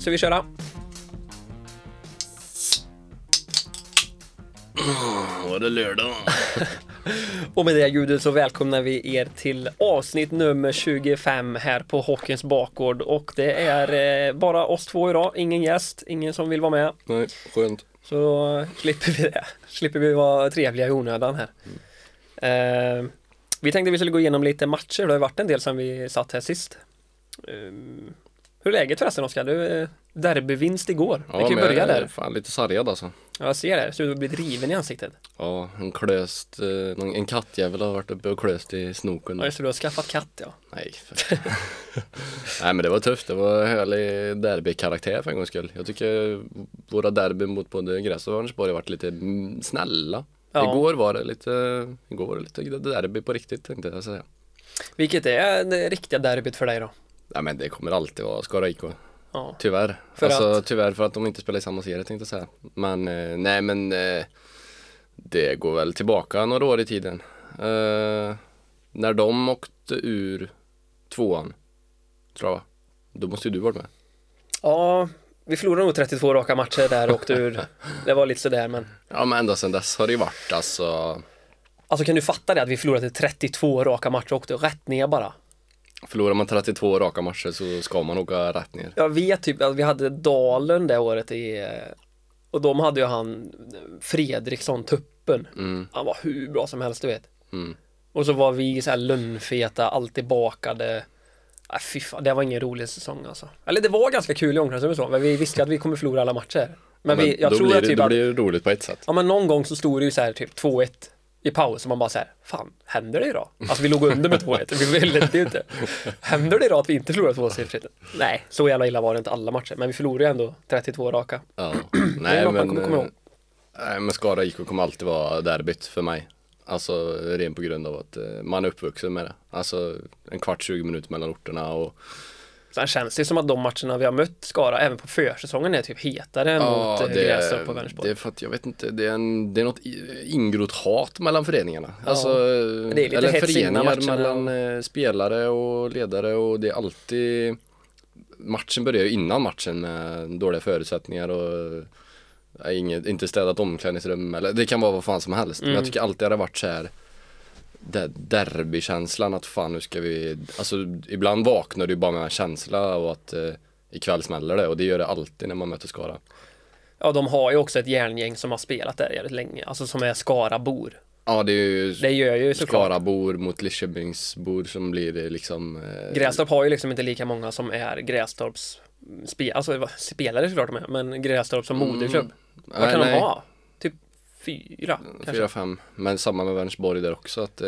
ska vi köra? Var det lördag? Och med det ljudet så välkomnar vi er till avsnitt nummer 25 här på Hockeyns bakgård. Och det är eh, bara oss två idag, ingen gäst, ingen som vill vara med. Nej, skönt. Så då slipper vi det. Slipper vi vara trevliga i onödan här. Eh, vi tänkte vi skulle gå igenom lite matcher. Det har ju varit en del sedan vi satt här sist. Eh, hur är läget förresten Oskar? Du, eh, Derbyvinst igår. vi kan ju men eh, jag börja är där. Fan, lite sargad alltså. Ja, Jag ser det. Ser ut att bli riven i ansiktet. Ja, en klöst, eh, någon, en kattjävel har varit uppe och klöst i snoken. Ja, just det. Du har skaffat katt ja. Nej, för... Nej men det var tufft, det var härlig derbykaraktär för en gångs skull. Jag tycker våra derbyn mot både Gräs och Örnsborg har varit lite mm, snälla. Ja. Igår var det lite, igår var det lite derby på riktigt tänkte jag säga. Vilket är det riktiga derbyt för dig då? Nej men det kommer alltid vara Skara IK. Ja. Tyvärr. För alltså att? tyvärr för att de inte spelar i samma serie tänkte jag säga. Men eh, nej men eh, det går väl tillbaka några år i tiden. Eh, när de åkte ur tvåan, tror jag va? Då måste ju du varit med. ja, vi förlorade nog 32 raka matcher där och åkte ur. Det var lite sådär men. Ja men ända sedan dess har det ju varit alltså Alltså kan du fatta det att vi förlorade 32 raka matcher och åkte rätt ner bara? Förlorar man 32 raka matcher så ska man åka rätt ner. Jag vet typ att vi hade Dalen det året i eh, och de hade ju han Fredriksson, tuppen. Han var hur bra som helst du vet. Mm. Och så var vi så här lönnfeta, alltid bakade. Äh, fy fan, det var ingen rolig säsong alltså. Eller det var ganska kul i omklädningsrummet så, men vi visste att vi kommer förlora alla matcher. Men, vi, jag då tror blir, att det- typ då att, blir det roligt på ett sätt. ja men någon gång så stod det ju så här typ 2-1 i paus och man bara så här, fan, händer det idag? Alltså vi låg under med 2-1, vi ville det ju inte. Händer det idag att vi inte förlorar tvåsiffrigt? Nej, så jävla illa var det inte alla matcher, men vi förlorade ju ändå 32 raka. är Ja. Nej, något man men, kommer komma eh, ihåg. nej men Skara IK kommer alltid vara derbyt för mig. Alltså rent på grund av att eh, man är uppvuxen med det. Alltså en kvart, 20 minuter mellan orterna och Sen känns det som att de matcherna vi har mött Skara, även på försäsongen, är typ hetare mot eh, Grästorp och Vänersborg. det är för att jag vet inte, det är, en, det är något i- ingrott hat mellan föreningarna. Alltså, eh, det är lite eller hets innan föreningar matcherna. mellan eh, spelare och ledare och det är alltid Matchen börjar ju innan matchen med dåliga förutsättningar och eh, inget, inte städat omklädningsrum eller det kan vara vad fan som helst. Mm. Men jag tycker alltid det har varit så här där derbykänslan att fan nu ska vi, alltså ibland vaknar du ju bara med en känsla och att eh, ikväll smäller det och det gör det alltid när man möter Skara. Ja, de har ju också ett järngäng som har spelat där jävligt länge, alltså som är Skarabor. Ja det är ju Det gör ju såklart. Skarabor mot Lidköpingsbor som blir eh, liksom eh, Grästorp har ju liksom inte lika många som är Grästorps spe, alltså, vad- spelare såklart de är, men Grästorp som Mm. moderklubb. Vad Nej, kan de nej. Mm, ha? Typ fyra kanske? fyra fem Men samma med Vänersborg där också att eh,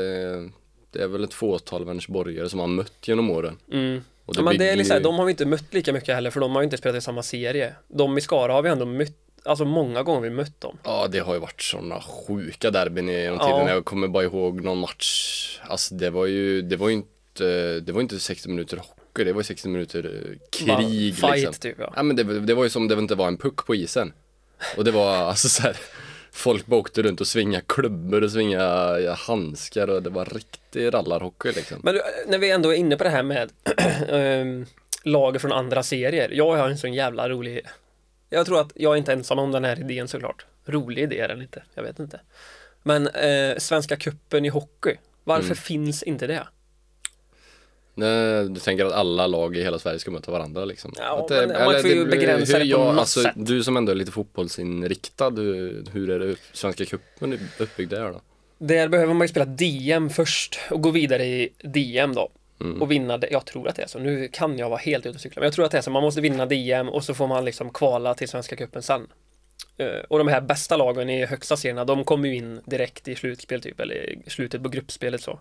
det är väl ett fåtal Vänersborgare som har mött genom åren. Mm. Och Ja, men det bygger är liksom, ju- de har vi inte mött lika mycket heller för de har ju inte spelat i samma serie. De i Skara har vi ändå mött, alltså många gånger vi mött dem. Ja det har ju varit sådana sjuka derbyn genom Ja. tiden. Jag kommer bara ihåg någon match. Alltså det var ju, det var ju inte, det var inte 60 minuter hockey. Det var ju 60 minuter eh, Bara krig fight, liksom. typ, ja. ja men det, det var ju som det inte var en puck på isen. Och det var alltså så här. Folk bara åkte runt och svingade klubbor och svingade ja, handskar och det var riktig rallarhockey liksom. Men eh, när vi ändå är inne på det här med ehm, lager från andra serier. Jag har en sån jävla rolig... Jag tror att jag är inte ensam om den här idén såklart. Rolig idé är den inte, jag vet inte. Men eh, Svenska cupen i hockey, varför Mm. finns inte det? Nej, Du tänker att alla lag i hela Sverige ska möta varandra liksom? Ja, att det, men man får ju blir- begränsa hur det på jag- något alltså, sätt. Du som ändå är lite fotbollsinriktad, hur, hur är det upp- Svenska cupen är uppbyggd där då? Där behöver man ju spela DM först och gå vidare i DM då. Och vinna, det- jag tror att det är så, nu kan jag vara helt ute och cykla, men jag tror att det är så, man måste vinna DM och så får man liksom kvala till Svenska Cupen sen. Eh, Och de här bästa lagen i högsta serierna, de kommer ju in direkt i slutspel typ, eller i slutet på gruppspelet så.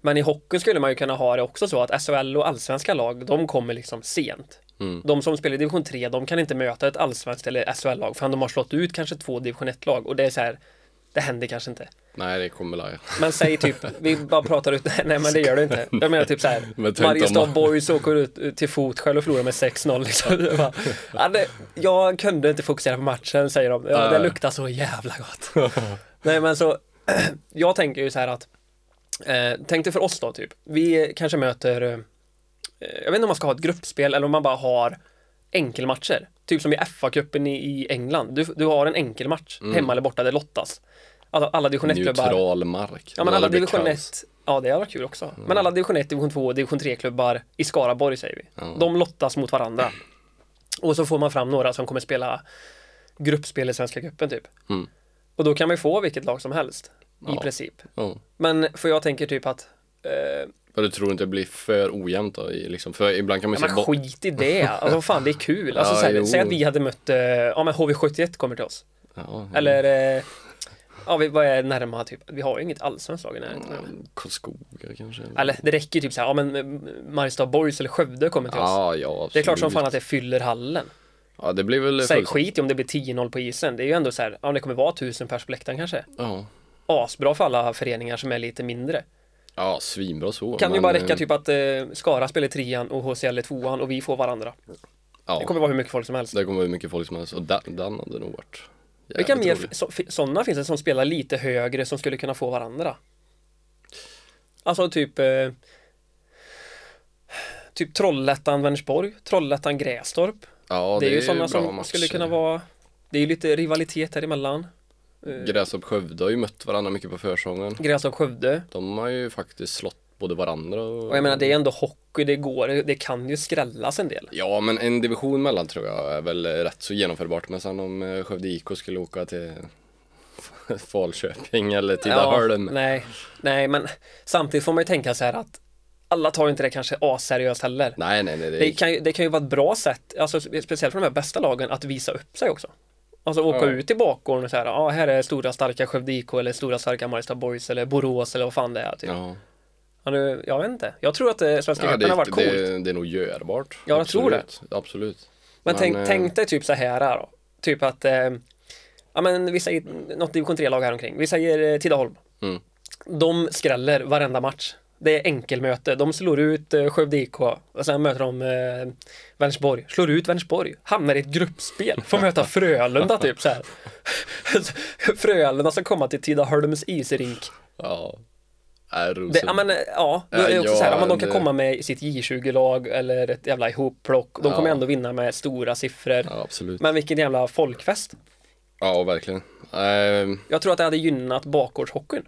Men i hockey skulle man ju kunna ha det också så att SHL och allsvenska lag, de kommer liksom sent. Mm. De som spelar i division 3, de kan inte möta ett allsvenskt eller SHL-lag förrän de har slått ut kanske två division 1-lag och det är så här, det händer kanske inte. Nej, det kommer väl... Men säg typ, vi bara pratar ut, nej men det gör du inte. Jag menar typ så här, Men tänk om Mariestad man- Boys åker ut ut till fot själv och förlorar med 6-0 liksom. Det var- ja, det, jag kunde inte fokusera på matchen säger de. Ja, det Nej. luktar så jävla gott. nej men så, jag tänker ju så här att, eh, tänk dig för oss då typ, vi kanske möter, eh, jag vet inte om man ska ha ett gruppspel eller om man bara har enkelmatcher. Typ som i FA-cupen i, i England. Du, du har en enkelmatch, Mm. hemma eller borta, det lottas. Alla, alla division 1-klubbar. Neutral mark. Ja, Då men alla hade det blivit division kaos. Mm. 1. Ja, det hade varit kul också. Men alla division 1, division 2 och division 3-klubbar i Skaraborg säger vi. De lottas mot varandra. Och så får man fram några som kommer spela gruppspel i Svenska cupen typ. Mm. Och då kan man ju få vilket lag som helst. I Ja. princip. Ja. Men för jag tänker typ att eh, Och du tror inte det blir för ojämnt då? i Liksom, för ibland kan man Ja, ju men bo- skit i det. Alltså fan det är kul. Alltså, Ja, så här, jo. säg att vi hade mött, eh, ja men HV71 kommer till oss. Ja, Eller, eh, ja vi, vad är närmare typ? Vi har ju inget allsvenskt lag i närheten. ja, Karlskoga kanske? eller- Eller det räcker ju typ så här, ja men eh, Mariestad Boys eller Skövde kommer till oss. Ja, ja, absolut. Det är klart som fan att det fyller hallen. Ja, det blir väl... Säg fullt- skit i om det blir 10-0 på isen. Det är ju ändå så här, ja det kommer vara 1000 pers på läktaren kanske. Ja. Asbra för alla föreningar som är lite mindre. Ja, svinbra så. Kan ju men, bara räcka eh, typ att eh, Skara spelar i trean och HCL i tvåan och vi får varandra. Ja, Det kommer vara hur mycket folk som helst. det kommer vara hur mycket folk som helst. Och den, den hade nog varit jävligt Vilka mer rolig. så, fi- sådana finns det som spelar lite högre som skulle kunna få varandra? Alltså typ eh, Typ Trollhättan-Vänersborg, Trollhättan-Grästorp. Ja, det, är ju sådana bra som matcher. skulle kunna vara Det är ju lite rivalitet här emellan. Grästorp Skövde har ju mött varandra mycket på försången. Grästorp-Skövde. De har ju faktiskt slått både varandra och... Och jag menar det är ändå hockey, det går, det kan ju skrällas en del. Ja, men en division mellan tror jag är väl rätt så genomförbart. Men sen om eh, Skövde IK skulle åka till Falköping eller Tidaholm. nej, nej, men samtidigt får man ju tänka så här att alla tar ju inte det kanske asseriöst heller. nej, nej, nej. Det, Det kan, ju, det kan ju vara ett bra sätt, alltså, spe- speciellt för de här bästa lagen, att visa upp sig också. Alltså åka Ja. ut i bakgården och säga, ja ah, här är stora starka Skövde IK eller stora starka Mariestad Boys eller Borås eller vad fan det är. Typ. Ja. Ja, nu, jag vet inte. Jag tror att eh, Svenska ja cupen det, har varit coolt. det, det är nog görbart. Ja, jag tror Absolut. Absolut. men tänk, eh, tänk dig typ så här då. Typ att, eh, ja men vi säger något division 3-lag här omkring. Vi säger eh, Tidaholm. Mm. De skräller varenda match. Det är enkelmöte. De slår ut eh, Skövde IK och sen möter de eh, Vänersborg. Slår ut Vänersborg. Hamnar i ett gruppspel. Får möta Frölunda typ så här. Frölunda ska komma till Tidaholms isrink. Ja. Äh, Är Det, ja men eh, ja, då är det Ja, också så här, ja, men de det- kan komma med sitt J20-lag eller ett jävla ihopplock. De kommer Ja. ändå vinna med stora siffror. Ja, absolut. Men vilken jävla folkfest. Ja, verkligen. Eh, Jag tror att det hade gynnat bakgårdshockeyn.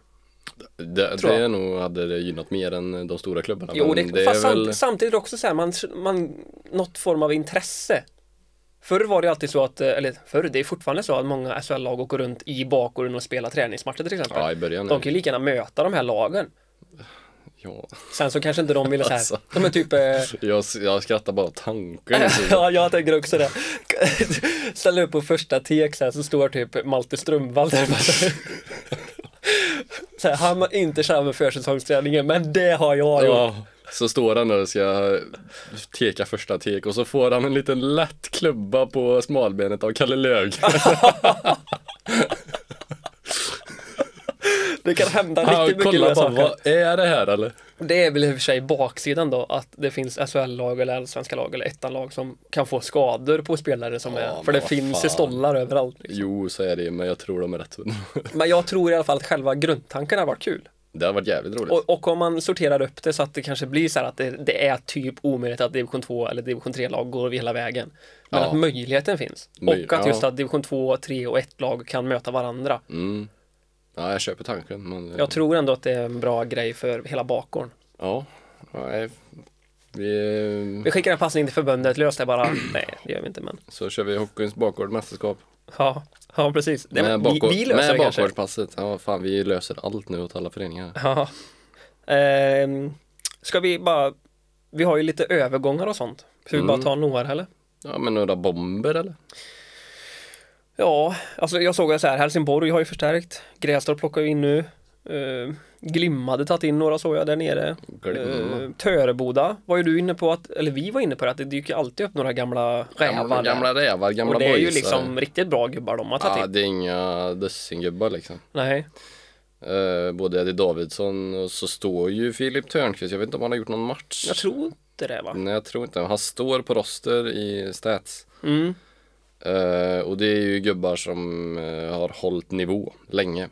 det Tror jag. det nog hade det gynnat mer än de stora klubbarna. Jo, det, men det fast är väl... samt, samtidigt också så här, man, man, något form av intresse. Förr var det alltid så att, eh, eller förr, det är fortfarande så att många SHL-lag åker runt i bakgården och spelar träningsmatcher till exempel. Ja, i början. de kan ju lika gärna möta de här lagen. Ja. Sen så kanske inte de ville så här, Alltså. de är typ eh, Jag, jag skrattar bara åt tanken. Ja, jag tänker också det. Ställa upp på första tek så här, så står typ Malte Strömvall där. Så här, han har inte kört med försäsongsträningen, men det har jag gjort. Ja, så står han där och ska teka första tek och så får han en liten lätt klubba på smalbenet av Kalle Löög. Det kan hända Han riktigt mycket roliga kollar bara, saker. vad är det här eller? Det är väl i och för sig baksidan då, att det finns SHL-lag eller allsvenska lag eller ettan-lag som kan få skador på spelare som Ja, är, för men det vad finns ju fan. stollar överallt. Jo, så är det men jag tror de är rätt. Men jag tror i alla fall att själva grundtanken har varit kul. Det har varit jävligt roligt. Och, och om man sorterar upp det så att det kanske blir så här att det, det är typ omöjligt att division 2 eller division 3-lag går hela vägen. Men Ja. att möjligheten finns. Möj- och att ja. just att division 2, 3 och 1-lag kan möta varandra. Mm. Ja, jag köper tanken. Men, eh, Jag tror ändå att det är en bra grej för hela bakgården. Ja, nej. Vi, Vi skickar en passning till förbundet, lös det bara. Nej, det gör vi inte men. så kör vi hockeyns bakgårdsmästerskap. Ja, ja precis. Det, Med, vi, bakgård, vi löser med det kanske. bakgårdspasset. Ja, fan vi löser allt nu åt alla föreningar. Ja. Ehm, ska vi bara, vi har ju lite övergångar och sånt. Ska vi Mm. bara ta några eller? Ja, men några bomber eller? Ja, alltså jag såg så här, Helsingborg har ju förstärkt. Grästorp plockar ju in nu. Uh, Glim hade tagit in några såg jag där nere. Glimma. Eh, Töreboda var ju du inne på att, eller vi var inne på det, att det dyker alltid upp några gamla rävar Gamla, där. gamla rävar, gamla Och det är ju boysare. liksom riktigt bra gubbar de har tagit Ja, in. det är inga dussingubbar liksom. Nej, Eh, både Eddie Davidsson och så står ju Filip Törnqvist. Jag vet inte om han har gjort någon match. jag tror inte det va? Nej, jag tror inte. Han står på roster i Stats. Mm. Eh, och det är ju gubbar som eh, har hållit nivå länge.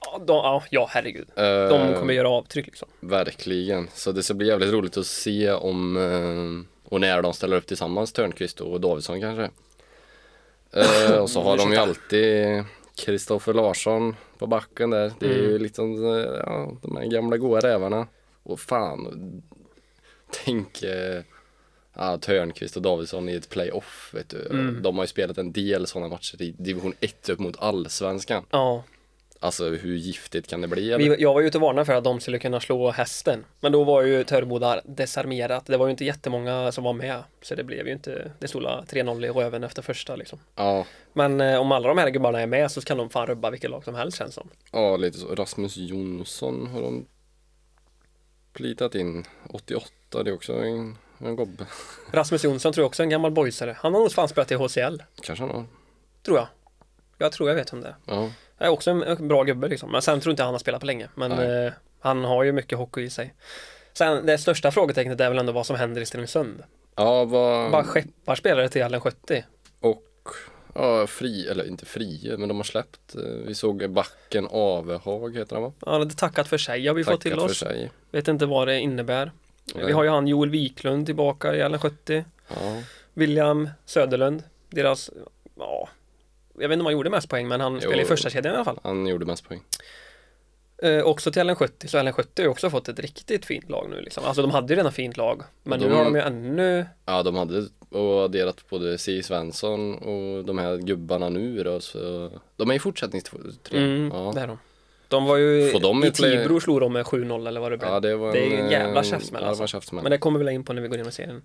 Ja, de, ja, ja, herregud. Eh, De kommer göra avtryck liksom. Verkligen. Så det ska bli jävligt roligt att se om eh, Och när de ställer upp tillsammans, Törnqvist och Davidsson kanske. Eh, och så har de ju alltid Kristoffer Larsson på backen där. Det är ju liksom eh, ja, de här gamla goa rävarna. Och fan, tänk eh, ja, Törnqvist och Davidsson i ett playoff. Vet du. De har ju spelat en del sådana matcher i division 1 upp mot allsvenskan. Ja. Alltså hur giftigt kan det bli? Eller? Vi, jag var ju ute och varnade för att de skulle kunna slå hästen. Men då var ju Töreboda desarmerat. Det var ju inte jättemånga som var med. Så det blev ju inte, det stod la 3-0 i röven efter första liksom. Ja, Men eh, om alla de här gubbarna är med så kan de fan rubba vilket lag som helst känns som. ja, lite så. Rasmus Jonsson har de plitat in. 88, det är också en, en gobbe. Rasmus Jonsson tror jag också är en gammal boysare. Han har nog fan spelat i HCL, Kanske han har. tror jag. Jag tror jag vet om det. Ja. Jag är också en, en bra gubbe liksom. Men sen tror inte jag han har spelat på länge. Men Nej. eh, han har ju mycket hockey i sig. Sen det största frågetecknet är väl ändå vad som händer i Stenungsund. Ja, vad... Bara skeppar spelare till Allen 70. Och ja, fri, eller inte frie, men de har släppt. eh, Vi såg backen Avehag heter han va? Ja, det är tackat för sig har vi fått till Tackat för oss. sig. Vet inte vad det innebär. Nej. Vi har ju han Joel Wiklund tillbaka i Allen 70. Ja. William Söderlund, deras, ja, jag vet inte om han gjorde mest poäng men han spelade i första kedjan i alla fall. Han gjorde mest poäng. Eh, också till Allen 70, så Allen 70 har ju också fått ett riktigt fint lag nu liksom. Alltså de hade ju redan fint lag, men De- nu har de ju ännu, Ja, de hade och adderat både C. Svensson och de här gubbarna nu då, så de är ju fortsättningstre. mm, det Ja. är de. De var ju, Får de i ett play- Tibro slog de med 7-0 eller vad det blev. ja, det var Det är ju en jävla eh, käftsmäll Ja, det var alltså. en käftsmäll. Men det kommer vi väl in på när vi går igenom serien.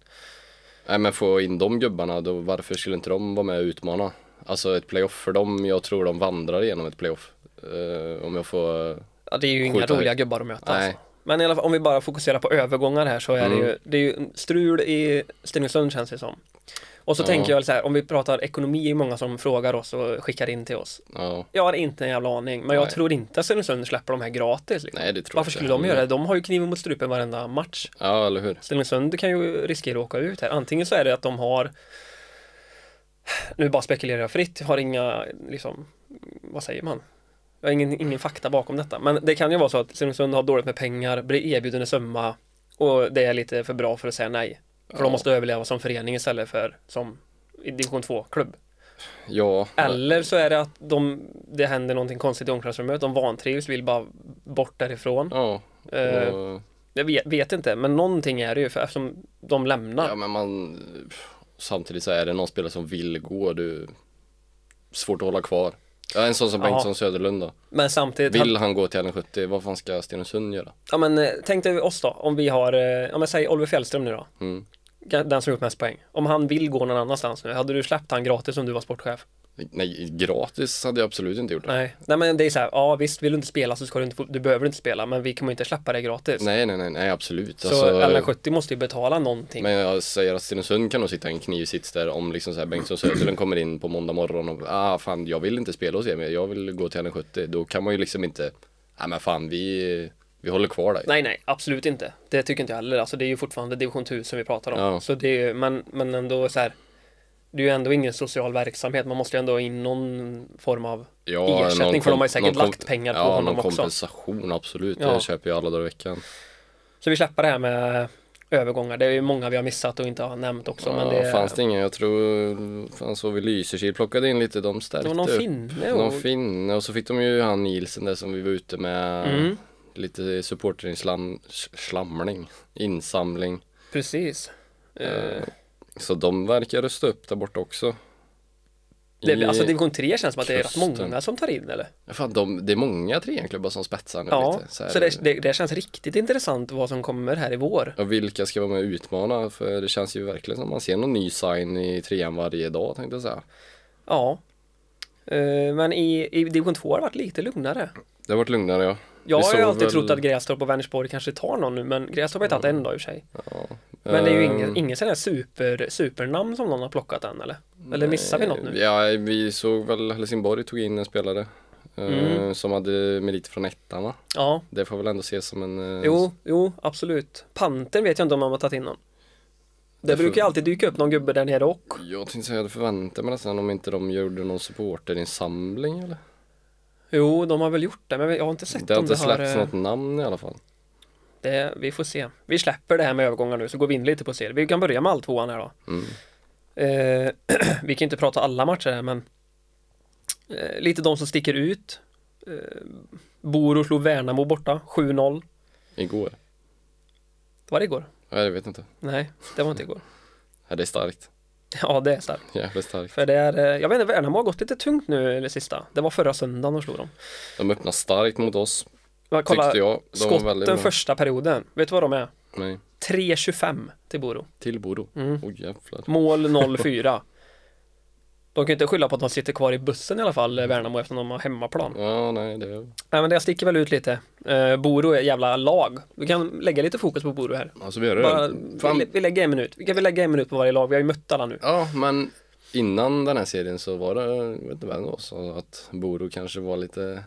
Nej men få in de gubbarna, då, varför skulle inte de vara med och utmana? Alltså ett playoff för dem, jag tror de vandrar igenom ett playoff. Eh, om jag får, Ja, det är ju inga Skjuta roliga högt. gubbar att möta Nej. Mm. alltså. Men i alla fall, om vi bara fokuserar på övergångar här så är det ju, det är ju strul i Stenungsund känns det som. Och så Ja. tänker jag väl så här, om vi pratar ekonomi är många som frågar oss och skickar in till oss. ja. Jag har inte en jävla aning, men jag Nej. tror inte att Stenungsund släpper de här gratis. Liksom. Nej det tror jag Varför inte skulle de heller. göra det? De har ju kniven mot strupen varenda match. Ja eller hur? Stenungsund kan ju riskera att åka ut här. Antingen så är det att de har nu bara spekulerar jag fritt, har inga, liksom, vad säger man? Jag har ingen, ingen fakta bakom detta, men det kan ju vara så att Stenungsund har dåligt med pengar, blir erbjuden en summa och det är lite för bra för att säga nej. För de måste överleva som förening istället för som i division 2-klubb. Ja. Eller så är det att de, det händer någonting konstigt i omklädningsrummet, de vantrivs, vill bara bort därifrån. Ja. Eh, och- Jag vet, vet inte, men någonting är det ju för eftersom de lämnar. Ja men man Samtidigt så är det någon spelare som vill gå du Svårt att hålla kvar ja, En sån som Ja. Bengtsson Söderlund då Men samtidigt, Vill han gå till Allen 70 vad fan ska Stenungsund göra? ja men eh, tänk dig oss då, om vi har, eh, ja men säg Oliver Fjällström nu då. Mm. Den som gjort mest poäng. Om han vill gå någon annanstans nu, hade du släppt han gratis om du var sportchef? Nej gratis hade jag absolut inte gjort det Nej, nej men det är så här, ja visst vill du inte spela så ska du inte, få- du behöver inte spela men vi kommer inte släppa dig gratis. Nej nej nej, nej absolut så Alltså, alla 70 måste ju betala någonting. Men jag säger att Stenungsund kan nog sitta i en knivsits där om liksom så här Bengtsson Söderlund kommer in på måndag morgon och ah fan jag vill inte spela hos er men jag vill gå till Allen 70 Då kan man ju liksom inte Nej men fan vi Vi håller kvar dig Nej, nej, absolut inte. Det tycker inte jag heller. Alltså, det är ju fortfarande division 1000 vi pratar om. Ja. Så det är, ju- men, men ändå så här, det är ju ändå ingen social verksamhet. Man måste ju ändå ha in någon form av ersättning. någon för de har ju komp- säkert någon lagt komp- pengar på ja, honom någon också. kompensation absolut, Ja. det köper jag alla dagar i veckan. Så vi släpper det här med övergångar. Det är ju många vi har missat och inte har nämnt också. men Ja, det, fanns det ingen, jag tror, fan så vi Lysekil plockade in lite, de det stärkte var någon upp. finne och... Någon finne och så fick de ju han Nielsen där som vi var ute med Mm, lite supporterinslamning, insamling. precis. Eh, Så de verkar rusta upp där borta också. det, I- alltså division 3 känns som att det är rätt kusten. många som tar in eller? Fan, de, det är många treanklubbar som spetsar nu Ja, lite. så, här. det, det, det känns riktigt intressant vad som kommer här i vår. Och vilka ska vara med och utmana? För det känns ju verkligen som man ser någon ny sign i trean varje dag tänkte jag säga. Ja. Eh, men i, i division 2 har det varit lite lugnare. Det har varit lugnare ja. Jag Vi har ju såg alltid väl- trott att Grästorp och Vänersborg kanske tar någon nu, men Grästorp har ju tagit en dag i och för sig. Men det är Eh. ju ingen, ingen sån här super, supernamn som någon har plockat än eller? Eller missar vi något nu? Ja, vi såg väl Helsingborg tog in en spelare. eh, Mm. Som hade meriter från ettan va? Ja, Det får väl ändå ses som en... eh, jo, jo, absolut. Panten vet jag inte om de har tagit in någon. Det Jag får- brukar ju alltid dyka upp någon gubbe där nere och. Jag tänkte säga, jag hade förväntat mig nästan om inte de gjorde någon supporterinsamling eller? Jo, de har väl gjort det, men jag har inte sett Det har om inte det har... släppts eh, något namn i alla fall. Det, vi får se. Vi släpper det här med övergångar nu så går vi in lite på serien. Vi kan börja med alltvåan här då. Mm. Eh, vi kan inte prata alla matcher här men eh, lite de som sticker ut. Eh, Boro slog Värnamo borta, 7-0. Igår? Var det igår? Ja, jag vet inte. Nej, det var inte igår. Ja, det är starkt. Ja, det är starkt. Jävligt starkt. För det är, eh, jag vet inte, Värnamo har gått lite tungt nu det sista. Det var förra söndagen de slog dem. De öppnar starkt mot oss, Men kolla, tyckte jag. De var väldigt skotten bra. första perioden. Vet du vad de är? Nej, 3-25 till Boro. till Bodo. Mm. Oj jävlar. Mål 0-4. De kan ju inte skylla på att de sitter kvar i bussen i alla fall, eh, Värnamo, eftersom de har hemmaplan. Ja, nej, det är... Nej men det sticker väl ut lite. Eh, Boro är ett jävla lag. Vi kan lägga lite fokus på Boro här. Alltså vi gör det. Bara, Fan. vi, vi lägger en minut. Vi kan väl lägga en minut på varje lag. Vi har ju mött alla nu. Ja, men innan den här serien så var det, jag vet inte vem det var, så att Bodo kanske var lite,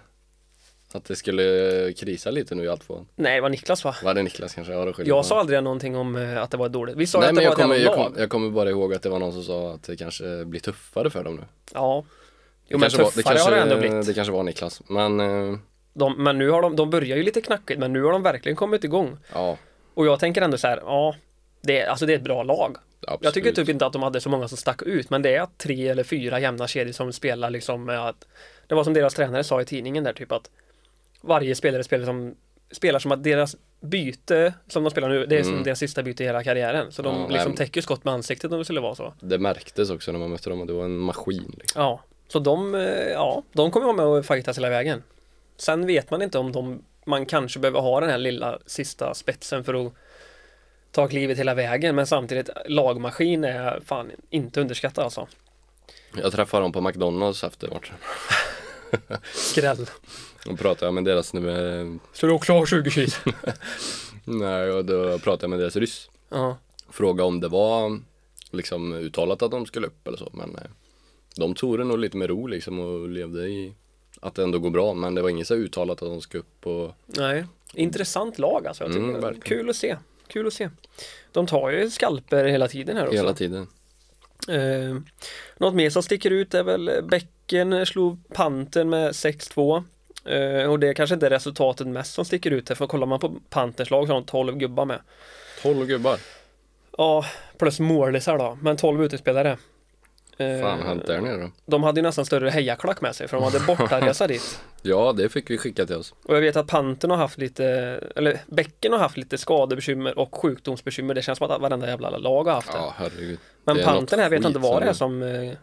att det skulle krisa lite nu i allt på. Nej, det var Niklas va? Var det Niklas kanske? Ja, då skyller Jag man. sa aldrig någonting om eh, att det var dåligt. Vi sa Nej, att det men var jag ett jävla kommer, lag. jag, kommer, jag kommer bara ihåg att det var någon som sa att det kanske blir tuffare för dem nu. Ja. Det Jo men kanske var- tuffare har det ändå blivit. Det kanske var Niklas, men eh, De, men nu har de, de börjar ju lite knackigt, men nu har de verkligen kommit igång. ja, Och jag tänker ändå så här, ja, det, alltså det är ett bra lag. absolut. Jag tycker typ inte att de hade så många som stack ut, men det är tre eller fyra jämna kedjor som spelar liksom med att Det var som deras tränare sa i tidningen där typ att Varje spelare spelar som Spelar som att deras byte som de spelar nu, det är som Mm. deras sista byte i hela karriären. Så de Ja, liksom nej. täcker skott med ansiktet om det skulle vara så. Det märktes också när man mötte dem, att det var en maskin liksom. Ja, så de, eh, ja, de kommer vara med och fightas hela vägen. Sen vet man inte om de, man kanske behöver ha den här lilla sista spetsen för att ta klivet hela vägen, men samtidigt lagmaskin är fan inte underskattad alltså. Jag träffade dem på McDonalds efter matchen. Skräll. Då pratade jag med deras, med, Så du också har 20 kilo? nej, och då pratade jag med deras ryss. Ja. fråga om det var liksom uttalat att de skulle upp eller så men eh, de tog det nog lite med ro liksom och levde i att det ändå går bra men det var inget så uttalat att de ska upp och Nej, intressant lag alltså. Jag tycker. Mm, verkligen. Kul att se. Kul att se. De tar ju skalper hela tiden här också. hela tiden. Eh, något mer som sticker ut är väl Bäcken slog Panten med 6-2. Eh, och det är kanske inte resultatet mest som sticker ut, här, för kollar man på Panterns lag så har de 12 gubbar med. 12 gubbar. Ja, plus målisar då, men 12 utespelare. Eh, Fan uh, hänt där nere då. de hade ju nästan större hejaklack med sig, för de hade bortaresa dit. Ja det fick vi skicka till oss. Och jag vet att Panten har haft lite, eller Bäcken har haft lite skadebekymmer och sjukdomsbekymmer. Det känns som att varenda jävla lag har haft det. Ja herregud. Det Men är något panten här vet jag inte skit vad det är som- som eh,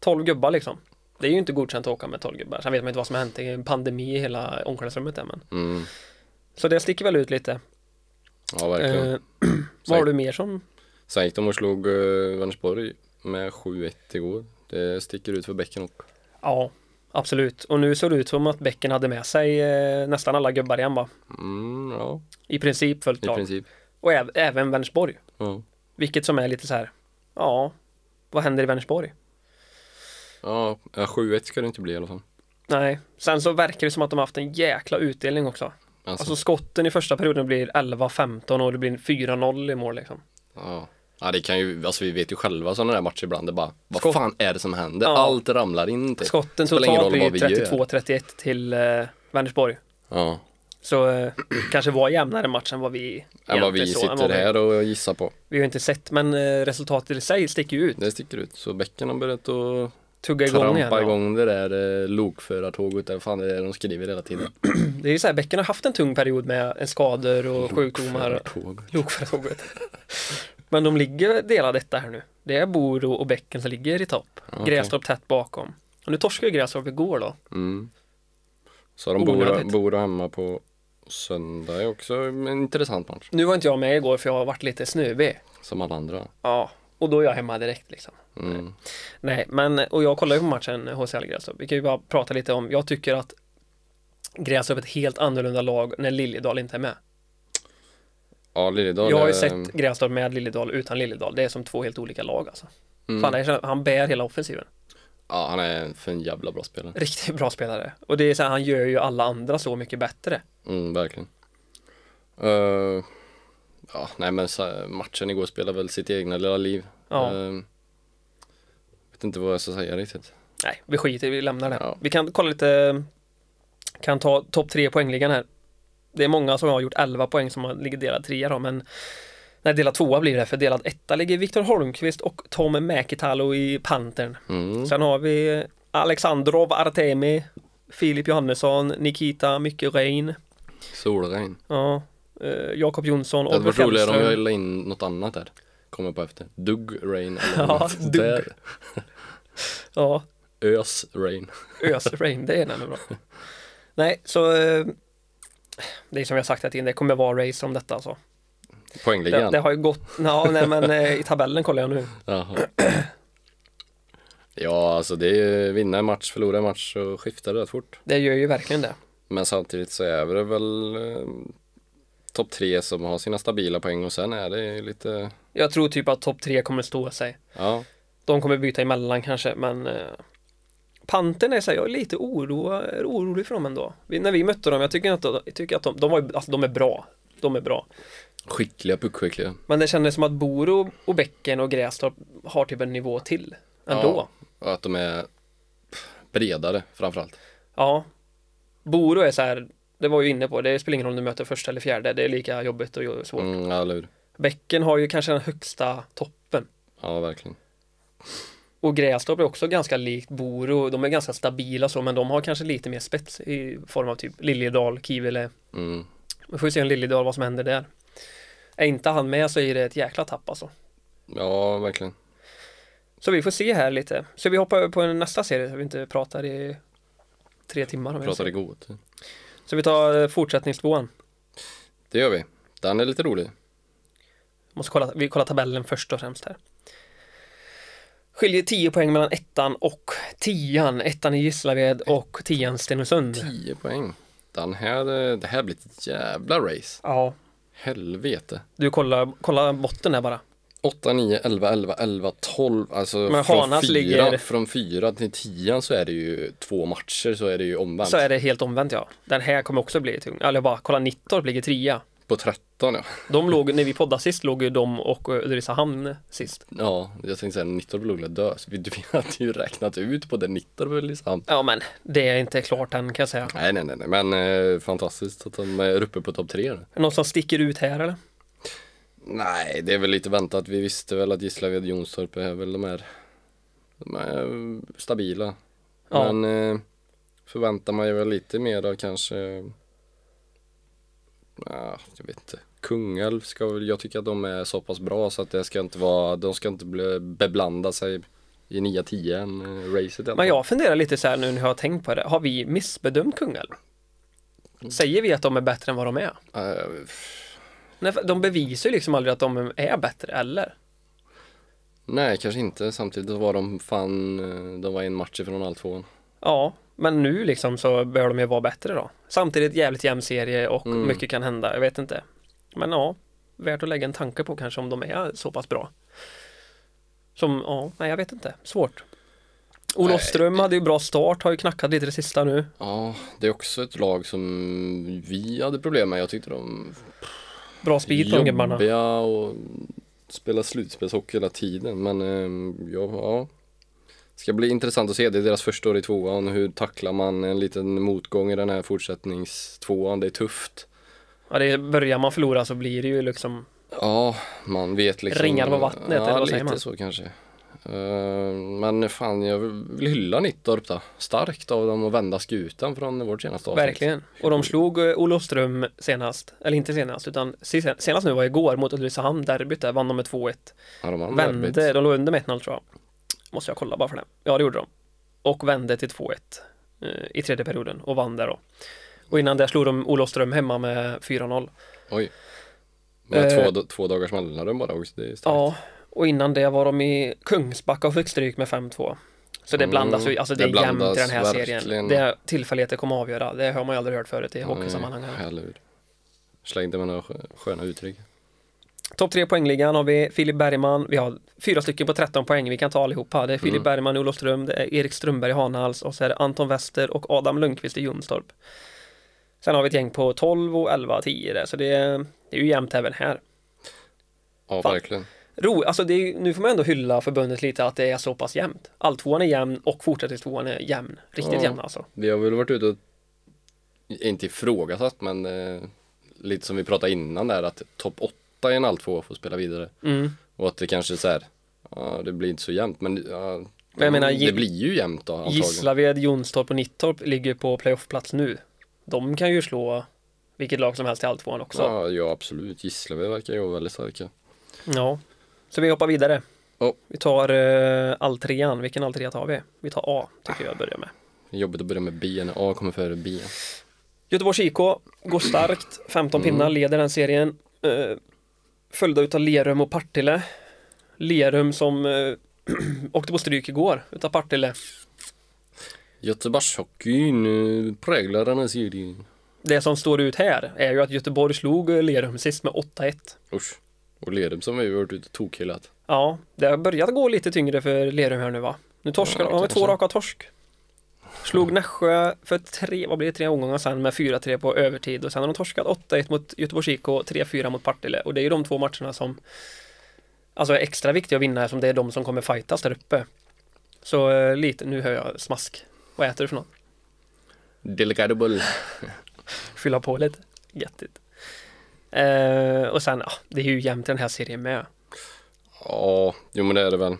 12 gubbar liksom. Det är ju inte godkänt att åka med 12 gubbar. Sen vet man inte vad som har hänt. Det är en pandemi i hela omklädningsrummet där men. Mm. Så det sticker väl ut lite. Ja verkligen. Eh, vad har du mer som? Sen gick de och slog uh, Vänersborg med 7-1 igår. Det sticker ut för bäcken och Ja, absolut. Och nu såg det ut som att Bäcken hade med sig eh, nästan alla gubbar igen va? mm, ja I princip fullt i lag. princip. Och äv- även Vänersborg. Ja. Vilket som är lite så här. Ja, vad händer i Vänersborg? Ja, ja, 7-1 ska det inte bli i alla fall. Nej, sen så verkar det som att de har haft en jäkla utdelning också. Alltså, Alltså skotten i första perioden blir 11-15 och det blir 4-0 i mål liksom. Ja. ja, det kan ju, alltså vi vet ju själva sådana där matcher ibland, det bara, vad Skott. fan är det som händer? Ja. Allt ramlar in typ. Skotten Spelar ingen totalt roll blir vad vi gör. 32-31 till eh, Vänersborg. Ja, Så eh, kanske var jämnare match än vad vi än vad vi egentligen så, än sitter vi- här och gissar på. Vi har ju inte sett, men eh, resultatet i sig sticker ju ut. Det sticker ut, så bäcken har börjat att Tugga igång igen. trampa ja. igång det där eh, lokförartåget, eller fan det är det de skriver hela tiden. Det är ju så här, bäcken har haft en tung period med eh, skador och sjukdomar. Lokförartåg. Lokförartåget. men de ligger delad detta här nu. Det är Boro och bäcken som ligger i topp. Okej. Grästorp tätt bakom. Och nu torskade ju Grästorp igår då. Mm. Så de bor, Onödigt. bor hemma på söndag är också en intressant match, Nu var inte jag med igår för jag har varit lite snuvig. som alla andra. Ja, och då är jag hemma direkt liksom. Mm. Nej, men och jag kollar ju på matchen HCL Grästorp. Vi kan ju bara prata lite om, jag tycker att Grästorp är ett helt annorlunda lag när Liljedal inte är med. Ja, Liljedahl Jag har ju är- sett Grästorp med Liljedal utan Liljedal. Det är som två helt olika lag alltså. Mm. Fan, jag känner, han bär hela offensiven. Ja, han är för en jävla bra spelare. Riktigt bra spelare. Och det är så här, han gör ju alla andra så mycket bättre. Mm, verkligen. Eh, ja, nej men så, matchen igår spelade väl sitt egna lilla liv. Ja. Eh, vet inte vad jag ska säga riktigt. Nej, vi skiter i det, vi lämnar det. Ja. Vi kan kolla lite, kan ta topp tre poängligan här. Det är många som har gjort 11 poäng som har- ligger delad trea då, men Nej, delad tvåa blir det, för delad etta ligger Viktor Holmqvist och Tom Mäkitalo i Pantern. Mm. Sen har vi Alexandrov Artemi, Filip Johannesson, Nikita Myckerein, Solregn. ja, eh, Jakob Jonsson, Det hade Oliver varit roligare om jag Fjällström. la in något annat där. Kommer på efter. Dugg Rain eller Ja, något Dugg. där. Ja, Ös Rain. Ös-Rain, det är den ändå bra. Nej, så eh, det är som jag sagt här till det kommer vara race om detta alltså. Det, Poängligan. det har ju gått, ja, nej men eh, i tabellen kollar jag nu. Jaha. Ja, alltså det är ju vinna en match, förlora en match och skifta rätt fort. Det gör ju verkligen det. Men samtidigt så är det väl eh, topp tre som har sina stabila poäng och sen är det ju lite, Jag tror typ att topp tre kommer stå sig. ja, De kommer byta emellan kanske, men eh, Pantern är så här, jag är lite oro, är orolig för dem ändå. Vi, när vi mötte dem, jag tycker att, jag tycker att de, de, var, ju- alltså, de är bra. De är bra. skickliga, puckskickliga. Men det kändes som att Boro och Bäcken och Grästorp har typ en nivå till ändå. Ja, och att de är bredare framförallt. Ja. Boro är så här, det var ju inne på, det spelar ingen roll om du möter första eller fjärde, det är lika jobbigt och svårt. Mm, ja, eller hur? Bäcken har ju kanske den högsta toppen. Ja, verkligen. Och Grästorp är också ganska likt Boro, de är ganska stabila så, men de har kanske lite mer spets i form av typ Liljedal, Kivile. Mm. Vi får ju se om Liljedal vad som händer där. Är inte han med så är det ett jäkla tapp alltså. Ja, verkligen. Så vi får se här lite. Så vi hoppar över på en nästa serie så vi inte pratar i tre timmar. Om jag Pratar i säger. god tid. så vi tar eh, fortsättningstvåan. Det gör vi. Den är lite rolig. Måste kolla, vi kollar tabellen först och främst här. Skiljer 10 poäng mellan ettan och tian. Ettan är Gislaved och tian Stenungsund. 10 poäng. Den här, eh, det här blir ett jävla race. Ja, Helvete. du kollar, kollar botten här bara. 8, 9, 11, 11, 11, 12. Alltså Men från, Hanas fyra, ligger- från fyra till tian så är det ju två matcher så är det ju omvänt. Så är det helt omvänt ja. Den här kommer också bli tung. Eller jag bara, kolla Nittorp ligger trea. På 13 ja. De låg, när vi poddade sist låg ju de och eh, Ulricehamn sist. Ja, jag tänkte säga Nittorp låg dö. Så vi, vi hade ju räknat ut på det Nittorp liksom. Ja men, det är inte klart än kan jag säga. Nej, nej, nej, nej. men eh, fantastiskt att de är uppe på topp tre. nu. Är det någon som sticker ut här eller? Nej, det är väl lite väntat. Vi visste väl att Gislaved och Jonstorp är väl de här, de är eh, stabila. Ja. Men eh, förväntar man ju väl lite mer av kanske, ja, jag vet inte. Kungälv ska väl, jag tycker att de är så pass bra så att det ska inte vara, de ska inte bli, beblanda sig i 9-10 än eh, racet i Men alla fall. jag funderar lite så här nu när jag har tänkt på det. Har vi missbedömt Kungälv? Säger vi att de är bättre än vad de är? Eh, Nej, för de bevisar ju liksom aldrig att de är bättre, eller? Nej, kanske inte. Samtidigt var de fan, eh, de var en match ifrån all tvåan. Ja, men nu liksom så bör de ju vara bättre då. Samtidigt jävligt jämn serie och mycket kan hända, jag vet inte. Men ja, värt att lägga en tanke på kanske om de är så pass bra. Som, ja, nej jag vet inte, svårt. Olofström hade ju bra start, har ju knackat lite det sista nu. Ja, det är också ett lag som vi hade problem med. Jag tyckte de Bra speed på de gubbarna. jobbiga och spelade slutspelshockey hela tiden. Men ehm, ja, ja. Ska bli intressant att se. Det är deras första år i tvåan. Hur tacklar man en liten motgång i den här fortsättningstvåan? Det är tufft. Ja, det är, börjar man förlora så blir det ju liksom, Ja, man vet liksom. Ringar på vattnet, ja, eller vad säger lite man? så kanske. Ehm, men fan, jag vill hylla Nittorp då. Starkt av dem att vända skutan från vårt senaste avsnitt. verkligen. Och de slog eh, Olofström senast, eller inte senast, utan sist- senast nu var igår mot Ulricehamn, derbyt där, vann de med 2-1. Ja, de vann derbyt. Vände, de låg under med 1-0 tror jag. Måste jag kolla bara för det. Ja, det gjorde de. Och vände till 2-1 eh, i tredje perioden och vann där då. Och innan det slog de Olofström hemma med 4-0. Oj. Men Eh. två, två dagars mellanrum bara också, det är starkt. Ja, och innan det var de i Kungsbacka och fick stryk med 5-2. Så det Mm, blandas ju, alltså det, det är jämnt blandas i den här serien. verkligen. Mm, Det tillfälligheter kommer avgöra, det har man ju aldrig hört förut i hockeysammanhang. Nej, Eller hur. Slängde med några skö- sköna uttryck. Topp tre poängligan har vi Filip Bergman, vi har fyra stycken på 13 poäng, vi kan ta allihopa. Det är Filip Bergman i Olofström, det är Erik Strömberg i Hanhals och så är det Anton Wester och Adam Lundqvist i Jonstorp. Sen har vi ett gäng på 12 och 11 och 10 där, så det är, det är ju jämnt även här. Ja, Fan. verkligen. Ro, alltså det är, ju- nu får man ändå hylla förbundet lite att det är så pass jämnt. Alltvåan är jämn och fortsättningstvåan är jämn. Riktigt Ja. jämn alltså. Vi har väl varit ute och, inte ifrågasatt, men eh, lite som vi pratade innan där att topp 8 i en allt får spela vidare. Mm. Och att det kanske är så här, ja det blir inte så jämnt men ja, Men jag menar, det Gi- blir ju jämnt då antagligen. Gislaved, Jonstorp och Nittorp ligger på playoffplats nu. De kan ju slå vilket lag som helst i alltvåan också. Ja. Ja, ja absolut, Gislaved verkar ju vara väldigt starka. Så vi hoppar vidare. Ja. Vi tar eh, alltrean. Vilken alltrea tar vi? Vi tar A, tycker jag börjar med. Jobbigt att börja med B när A kommer före B. Göteborgs IK går starkt. 15 pinnar, leder den serien. Eh, följda utav Lerum och Partille. Lerum som eh, åkte på stryk igår utav Partille. Göteborgshockeyn eh, präglar den här serien. Det som står ut här är ju att Göteborg slog eh, Lerum sist med 8-1. Usch. Och Lerum som har ju varit ute och tokhyllat. Ja, det har börjat gå lite tyngre för Lerum här nu va? Nu torskar Ja, de, de har kanske. två raka torsk. Slog Nässjö för tre, vad blir det, tre omgångar sen med 4-3 på övertid och sen har de torskat 8-1 mot Göteborgs IK och 3-4 mot Partille och det är ju de två matcherna som alltså är extra viktiga att vinna eftersom det är de som kommer fightas där uppe. Så eh, lite, nu hör jag smask. Vad äter du för något? Delicado boll. Fylla på lite. Jättigt. Eh, och sen, ja, det är ju jämnt i den här serien med. Ja, jo men det är det väl.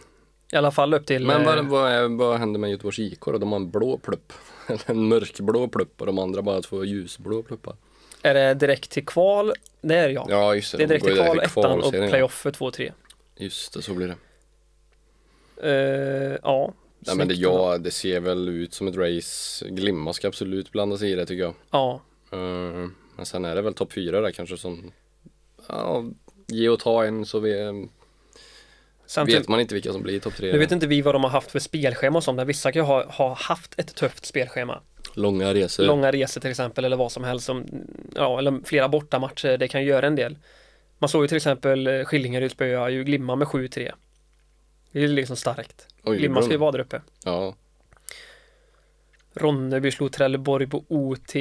I alla fall upp till... Men vad, eh, vad, är, vad händer med Göteborgs IK då? De har en blå plupp. Eller en mörkblå plupp och de andra bara två ljusblå pluppar. Är det direkt till kval? Det är jag. Ja just det, Det är de direkt går till ju där kval, ettan och kvalserien. playoff för 2-3. Just det, så blir det. Eh, ja. Nej men det, Snyggt ändå. ja, det ser väl ut som ett race. Glimma ska absolut blanda sig i det tycker jag. Ja. Eh, men sen är det väl topp fyra där kanske som ja, ge och ta en så vi, vet Samtidigt, man inte vilka som blir i topp tre. typ- nu vet inte vi vad de har haft för spelschema och sånt, men vissa kan ju ha, ha haft ett tufft spelschema. Långa resor. Långa resor till exempel eller vad som helst, som, ja, eller flera bortamatcher, det kan ju göra en del. Man såg ju till exempel eh, Skillingaryd spöa ju Glimma med 7-3. Det är ju liksom starkt. Oj, Glimma ska ju bra. vara där uppe. Ja, Ronneby slog Trelleborg på OT.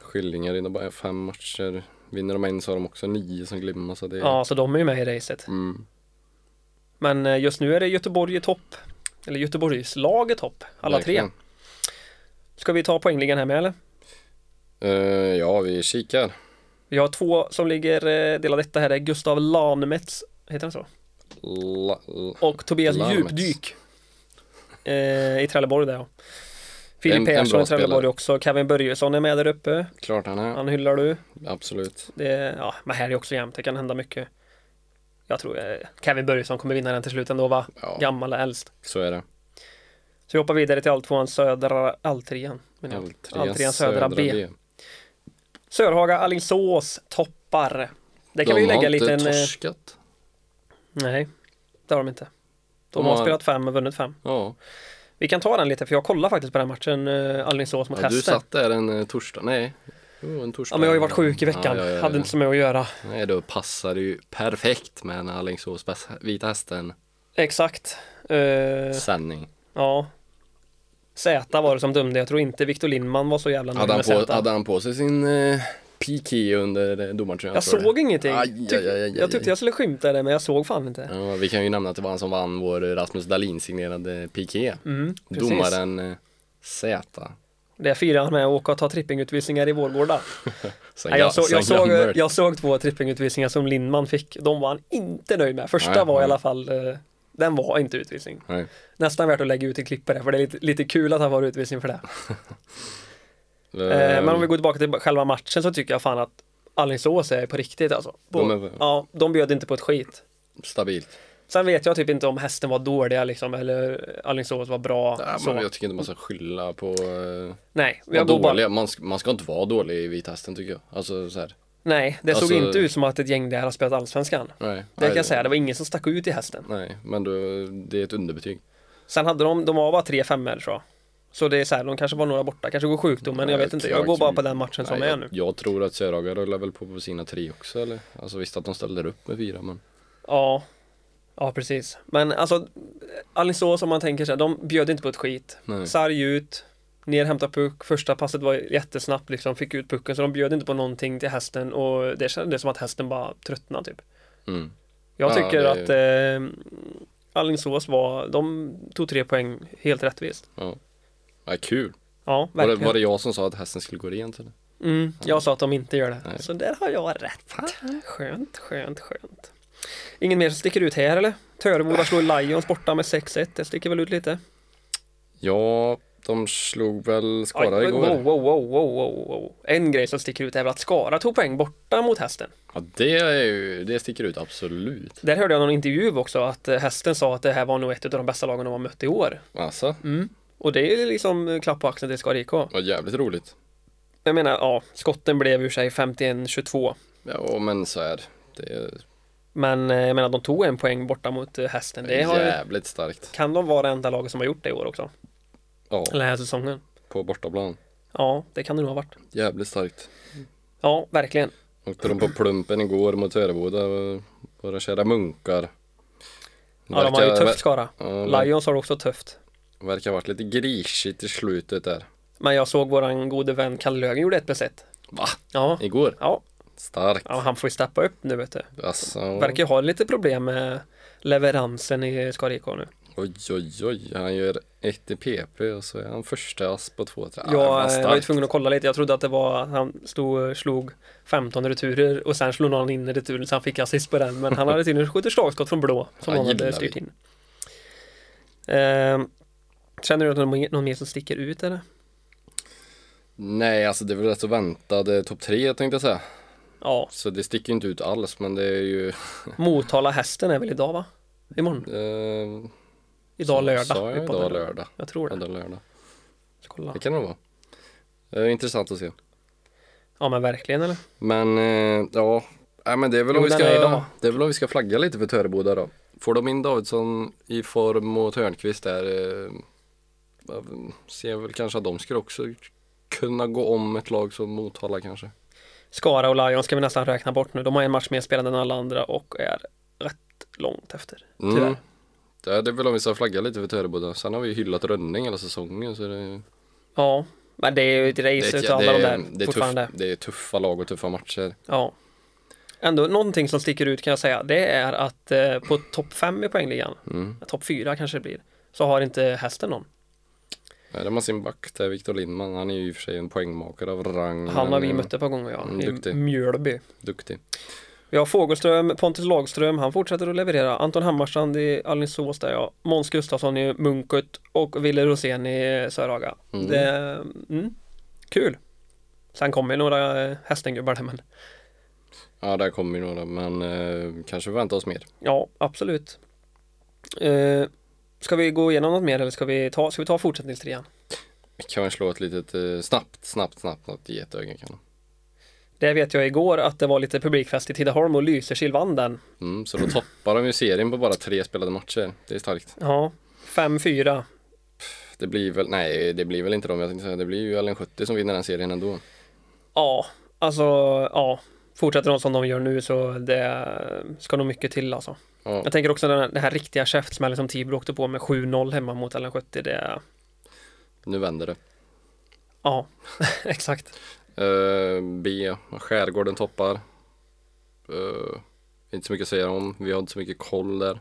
Skillingar vinner bara fem matcher. Vinner de en så har de också nio som Glimma så det är... Ja, så de är ju med i racet. Mm. Men eh, just nu är det Göteborg i topp. Eller Göteborgs lag i topp, alla verkligen. tre. Ska vi ta poängligan här med eller? Eh, ja, vi kikar. Vi har två som ligger eh, delad detta här är Gustav Lanemets, heter han så? La, la, Och Tobias Lanemets. Djupdyk. Eh, I Trelleborg där ja. En- Filip en Persson bra i Trelleborg spelare. också. Kevin Börjesson är med där uppe. klart han är. Han hyllar du. Absolut. Det, är- ja, men här är också jämnt, det kan hända mycket. Jag tror eh, Kevin Börjesson kommer vinna den till slut ändå va? Ja, Gammal eller äldst. så är det. Så vi hoppar vidare till alltvåan södra, alltrean. menar jag. Alltrean Alltrean södra B. Sörhaga, Alingsås toppar. Det kan vi de ju lägga har en liten... inte eh, torskat. Nej, det har de inte. De, De har har- spelat fem och vunnit fem. Ja, Vi kan ta den lite för jag kollar faktiskt på den matchen, eh, Alingsås mot ja du Hästen. satt där en eh, torsdag. Nej, jo, en torsdag. Ja men jag har ju varit sjuk i veckan, Ja, ja, ja, ja. hade inte så mycket att göra. Nej, då passar det ju perfekt med en Alingsås bäst- Vita Exakt. Eh, Hästen-sändning. ja. Zäta var det som dömde, jag tror inte Victor Lindman var så jävla nöjd Hade, han med på- Zäta. hade han på sig sin eh, piké under eh, domartröjan? Jag tror du? såg ingenting. Aj, aj, aj, aj, aj. Jag tyckte jag skulle skymta det men jag såg fan inte. Ja, vi kan ju nämna att det var han som vann vår eh, Rasmus Dahlin signerade piké. Mm, precis. Domaren eh, Z. Det firar han med att åka och ta trippingutvisningar i Vårgårda. Sen Nej, jag, ga- såg, sen jag, såg, gammalt. jag såg två trippingutvisningar som Lindman fick. De var han inte nöjd med. Första Nej, var i nej. alla fall, eh, den var inte utvisning. Nej. Nästan värt att lägga ut i klippet där, för det är lite, lite kul att han var utvisning för det. Eh, men om vi går tillbaka till själva matchen så tycker jag fan att Alingsås är på riktigt alltså. På, De är- ja, de bjöd inte på ett skit. Stabilt. Sen vet jag typ inte om hästen var dåliga liksom, eller Alingsås var bra. Ja, så. men jag tycker inte man ska skylla på... Eh, Nej, vara jag går bara, dåliga. Man, ska, man ska inte vara dålig i Vita Hästen tycker jag. Alltså så här. nej, det Alltså- såg inte ut som att ett gäng där har spelat Allsvenskan. Nej. Det kan Nej, jag säga, det var ingen som stack ut i hästen. Nej, men du, det är ett underbetyg. Sen hade de, de var bara tre femmor tror jag. Så det är så här, de kanske var några borta, kanske går sjukdomen, jag vet inte. Jag går bara på den matchen som Nej, är jag, nu. Jag tror att Sörhaga rullar väl på på sina tre också eller? Alltså visst att de ställer upp med fyra men Ja, ja precis. Men alltså, Alingsås om man tänker så här, de bjöd inte på ett skit. nej. Sarg ut, ner hämta puck, första passet var jättesnabbt liksom, fick ut pucken så de bjöd inte på någonting till hästen och det kändes som att hästen bara tröttnade typ. Mm. Jag Ja, tycker det- att eh, Alingsås var, de tog tre poäng helt rättvist. Ja. ja, kul. Ja, Var det, verkligen. var det jag som sa att hästen skulle gå rent eller? Mm, jag sa att de inte gör det. Nej. Ah, Så där har jag rätt. Skönt, skönt, skönt. Ingen mer som sticker ut här eller? Töreboda slår Lions borta med 6-1. Det sticker väl ut lite? Ja, de slog väl Skara Oj, igår. Wow, wow, wow, wow, wow, wow. En grej som sticker ut är väl att Skara tog poäng borta mot hästen. Ja, det, är ju, det sticker ut absolut. Där hörde jag någon intervju också att eh, hästen sa att det här var nog ett av de bästa lagen de har mött i år. Alltså, Och det är liksom eh, klapp på axeln till Skara IK. var jävligt roligt. Jag menar, ja, skotten blev ur sig 51-22. Ja, men så är det. det. är Men eh, jag menar, de tog en poäng borta mot eh, hästen. Det har, ju- jävligt starkt. kan de vara det enda laget som har gjort det i år också? Ja, Eller den här säsongen? på bortaplan. Ja, det kan det nog ha varit. Jävligt starkt. Ja, verkligen. Åkte de på Plumpen igår mot Töreboda. och Våra kära munkar. Ja, de har ju Verkar- tufft Skara. Ja, men- Lions har det också tufft. Verkar ha varit lite grisigt i slutet där. Men jag såg våran gode vän Kalle Löfgren gjorde ett besett. Va? Ja, Igår? ja. Starkt. ja, han får ju steppa upp nu vet du. Alltså, Verkar ju ha lite problem med leveransen i Skara IK nu. oj, oj, oj. Han gör ett i PP och så är han första ass på två, tre. Jag eh, var ju tvungen att kolla lite. Jag trodde att det var att han stod, slog 15 returer och sen slog någon in i returen så han fick assist på den. Men han hade tydligen skjutit slagskott från blå som Ja, någon gillar hade vi. styrt in. Ehm, känner du att det är någon mer som sticker ut eller? Nej, alltså det är väl rätt så väntade topp tre tänkte jag säga. Ja, Så det sticker ju inte ut alls, men det är ju... Motala hästen är väl idag va? Imorgon? Eh, Idag lördag. Sa Vi jag poddar idag idag. lördag? Jag tror Ja, det. det är lördag. Ska kolla. Det kan det vara. Eh, intressant att se. Ja men verkligen eller? Men eh, ja, Nej, men det är väl Jo, om vi den ska, är idag. det är väl om vi ska flagga lite för Töreboda då. Får de in Davidsson i form och Törnqvist där, eh, jag ser väl kanske att de skulle också kunna gå om ett lag som Motala kanske. Skara och Lions ska vi nästan räkna bort nu. De har en match mer spelande än alla andra och är rätt långt efter. Mm. Tyvärr. Det är det är väl om vi ska flagga lite för Töreboda. Sen har vi ju hyllat Rönning hela säsongen så det, Ja, men det är ju ett race ett- utav alla de där det, är fortfarande. tuff, det är tuffa lag och tuffa matcher. Ja. Ändå någonting som sticker ut kan jag säga. Det är att eh, på topp 5 i poängligan, Mm. topp 4 kanske det blir, så har inte hästen någon. Nej, De har sin back där, Viktor Lindman. Han är ju i och för sig en poängmakare av rang. Han har men, vi eh, mött ett par gånger ja, Mm, i duktig. Mjölby. Duktig. Vi har Fogelström, Pontus Lagström, han fortsätter att leverera. Anton Hammarstrand i Alingsås där ja. Måns Gustafsson i Munket och Wille Rosén i Sörhaga. Mm. Det, mm, kul! Sen kommer ju några eh, hästengubbar där men Ja, där kommer ju några, men eh, kanske vänta oss mer. ja, absolut. Eh, ska vi gå igenom något mer eller ska vi ta, ska vi ta fortsättningstrean? Kan vi slå ett litet eh, snabbt, snabbt, snabbt något getöga kan. Det vet jag igår att det var lite publikfest i Tidaholm och Lysekil vann den. Mm, så då toppar de ju serien på bara tre spelade matcher. Det är starkt. Ja, 5-4. Det blir väl, nej det blir väl inte de jag tänkte säga. Det blir ju Allen 70 som vinner den serien ändå. Ja, alltså ja. Fortsätter de som de gör nu så det ska nog mycket till alltså. Ja, Jag tänker också den här, den här riktiga käftsmällen som liksom Tibro åkte på med 7-0 hemma mot Allen 70. Det, nu vänder det. ja, exakt. Eh, B, Skärgården toppar. Eh, inte så mycket att säga om. Vi har inte så mycket koll där.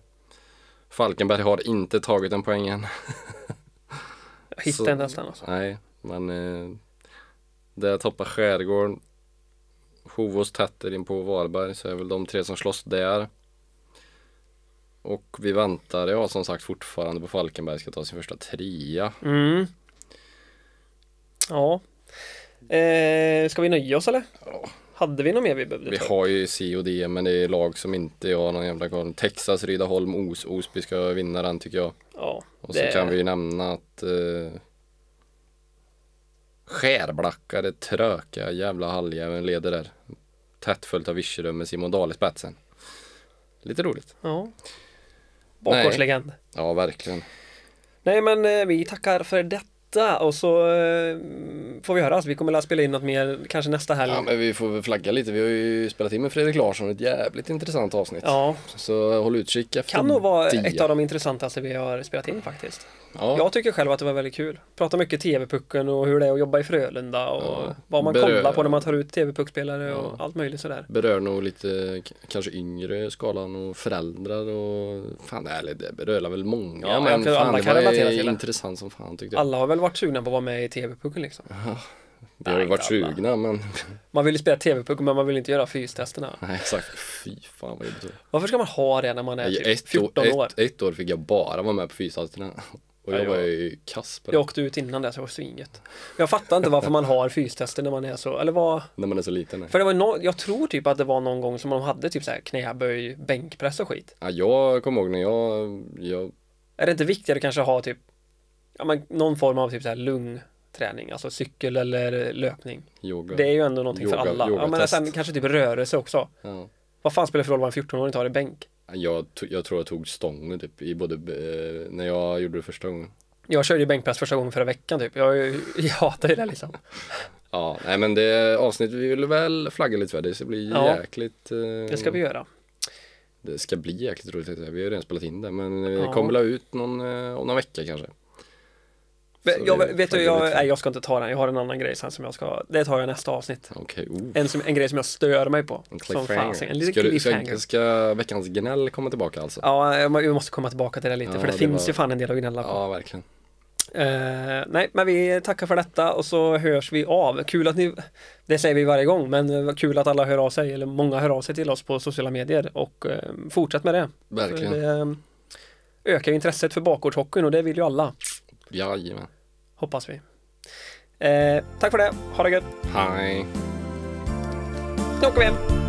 Falkenberg har inte tagit en poäng än. Jag hittade Så- inte ens den alltså. Nej, men eh, där toppar Skärgården. Hovås tätt in på Varberg så är väl de tre som slåss där. Och vi väntar, ja som sagt fortfarande på Falkenberg ska ta sin första trea. Mm. Ja. Eh, ska vi nöja oss eller? Ja. Hade vi något mer vi behövde? Vi ta? har ju C och D men det är lag som inte jag har någon jävla koll. Texas, Rydaholm, Os, Osby ska vinna den tycker jag. Ja, Och det- så kan vi ju nämna att eh, Skärblacka, det tröka jävla halljäveln leder där. Tätt följt av Virserum med Simon Dahl i spetsen. Lite roligt. ja. Bakgårdslegend. Ja, verkligen. Nej men eh, vi tackar för detta och så eh, får vi höras. Vi kommer att spela in något mer kanske nästa helg. Ja, men vi får väl flagga lite. Vi har ju spelat in med Fredrik Larsson ett jävligt intressant avsnitt. ja, Så håll utkik efter kan nog vara det. ett av de intressantaste vi har spelat in faktiskt. ja. Jag tycker själv att det var väldigt kul. Prata mycket TV-pucken och hur det är att jobba i Frölunda och Ja. vad man Berö- kollar på när man tar ut TV-puckspelare och Ja. allt möjligt sådär. Berör nog lite k- kanske yngre skalan och föräldrar och fan ärligt det berör väl många Ja, jag men tror alla fan det kan relatera var till det. intressant som fan tyckte jag. Alla har väl varit sugna på att vara med i TV-pucken liksom. Vi har Nej, ju varit inte alla. sugna men, Man vill ju spela TV-puck men man vill inte göra fystesterna. nej exakt. Fy fan vad jobbigt. Varför ska man ha det när man är typ Ett, år- 14 år? ett, ett år fick jag bara vara med på fysasterna. Och Ja, jag jag- var ju kass på det. Jag åkte ut innan det så det var svingött. Jag fattar inte varför man har fystester när man är så, eller vad? När man är så liten. nej. För det var no, jag tror typ att det var någon gång som de hade typ så här knäböj, bänkpress och skit. Ja, jag kommer ihåg när jag, jag Är det inte viktigare kanske att ha typ, ja men någon form av typ så här lungträning, alltså cykel eller löpning? yoga. Det är ju ändå någonting Yoga- för alla. Ja, men yogatest. sen kanske typ rörelse också. Ja. Vad fan spelar det för roll vad en 14-åring tar i bänk? Jag, to- jag tror jag tog stången typ i både, eh, när jag gjorde det första gången. Jag körde ju bänkpress första gången förra veckan typ. Jag, jag hatar ju det liksom. Ja, nej men det avsnittet, vi vill väl flagga lite för det, så det blir Ja. jäkligt eh, Det ska vi göra. Det ska bli jäkligt roligt, tänkte jag. vi har ju redan spelat in det men vi Ja. kommer väl ut någon, eh, om någon vecka kanske. Men Så Jag, vi vet du, flaggar jag, lite. nej, jag ska inte ta den. Jag har en annan grej sen som jag ska, det tar jag nästa avsnitt. Okej, oh. En, som, en grej som jag stör mig på. En Som fan, cliffhanger. en liten ska, du, cliffhanger. ska, ska veckans gnäll komma tillbaka alltså? Ja, jag må- vi måste komma tillbaka till det lite Ja, för det, det finns var- ju fan en del att gnälla på. Ja, verkligen. Eh, nej, men vi tackar för detta och så hörs vi av. Kul att ni, det säger vi varje gång, men eh, vad kul att alla hör av sig, eller många hör av sig till oss på sociala medier och eh, fortsätt med det. För Verkligen. Det eh, ökar ju intresset för bakgårdshockeyn och det vill ju alla, Jajamän. hoppas vi. Eh, tack för det, ha det gött, Hej. nu åker vi hem!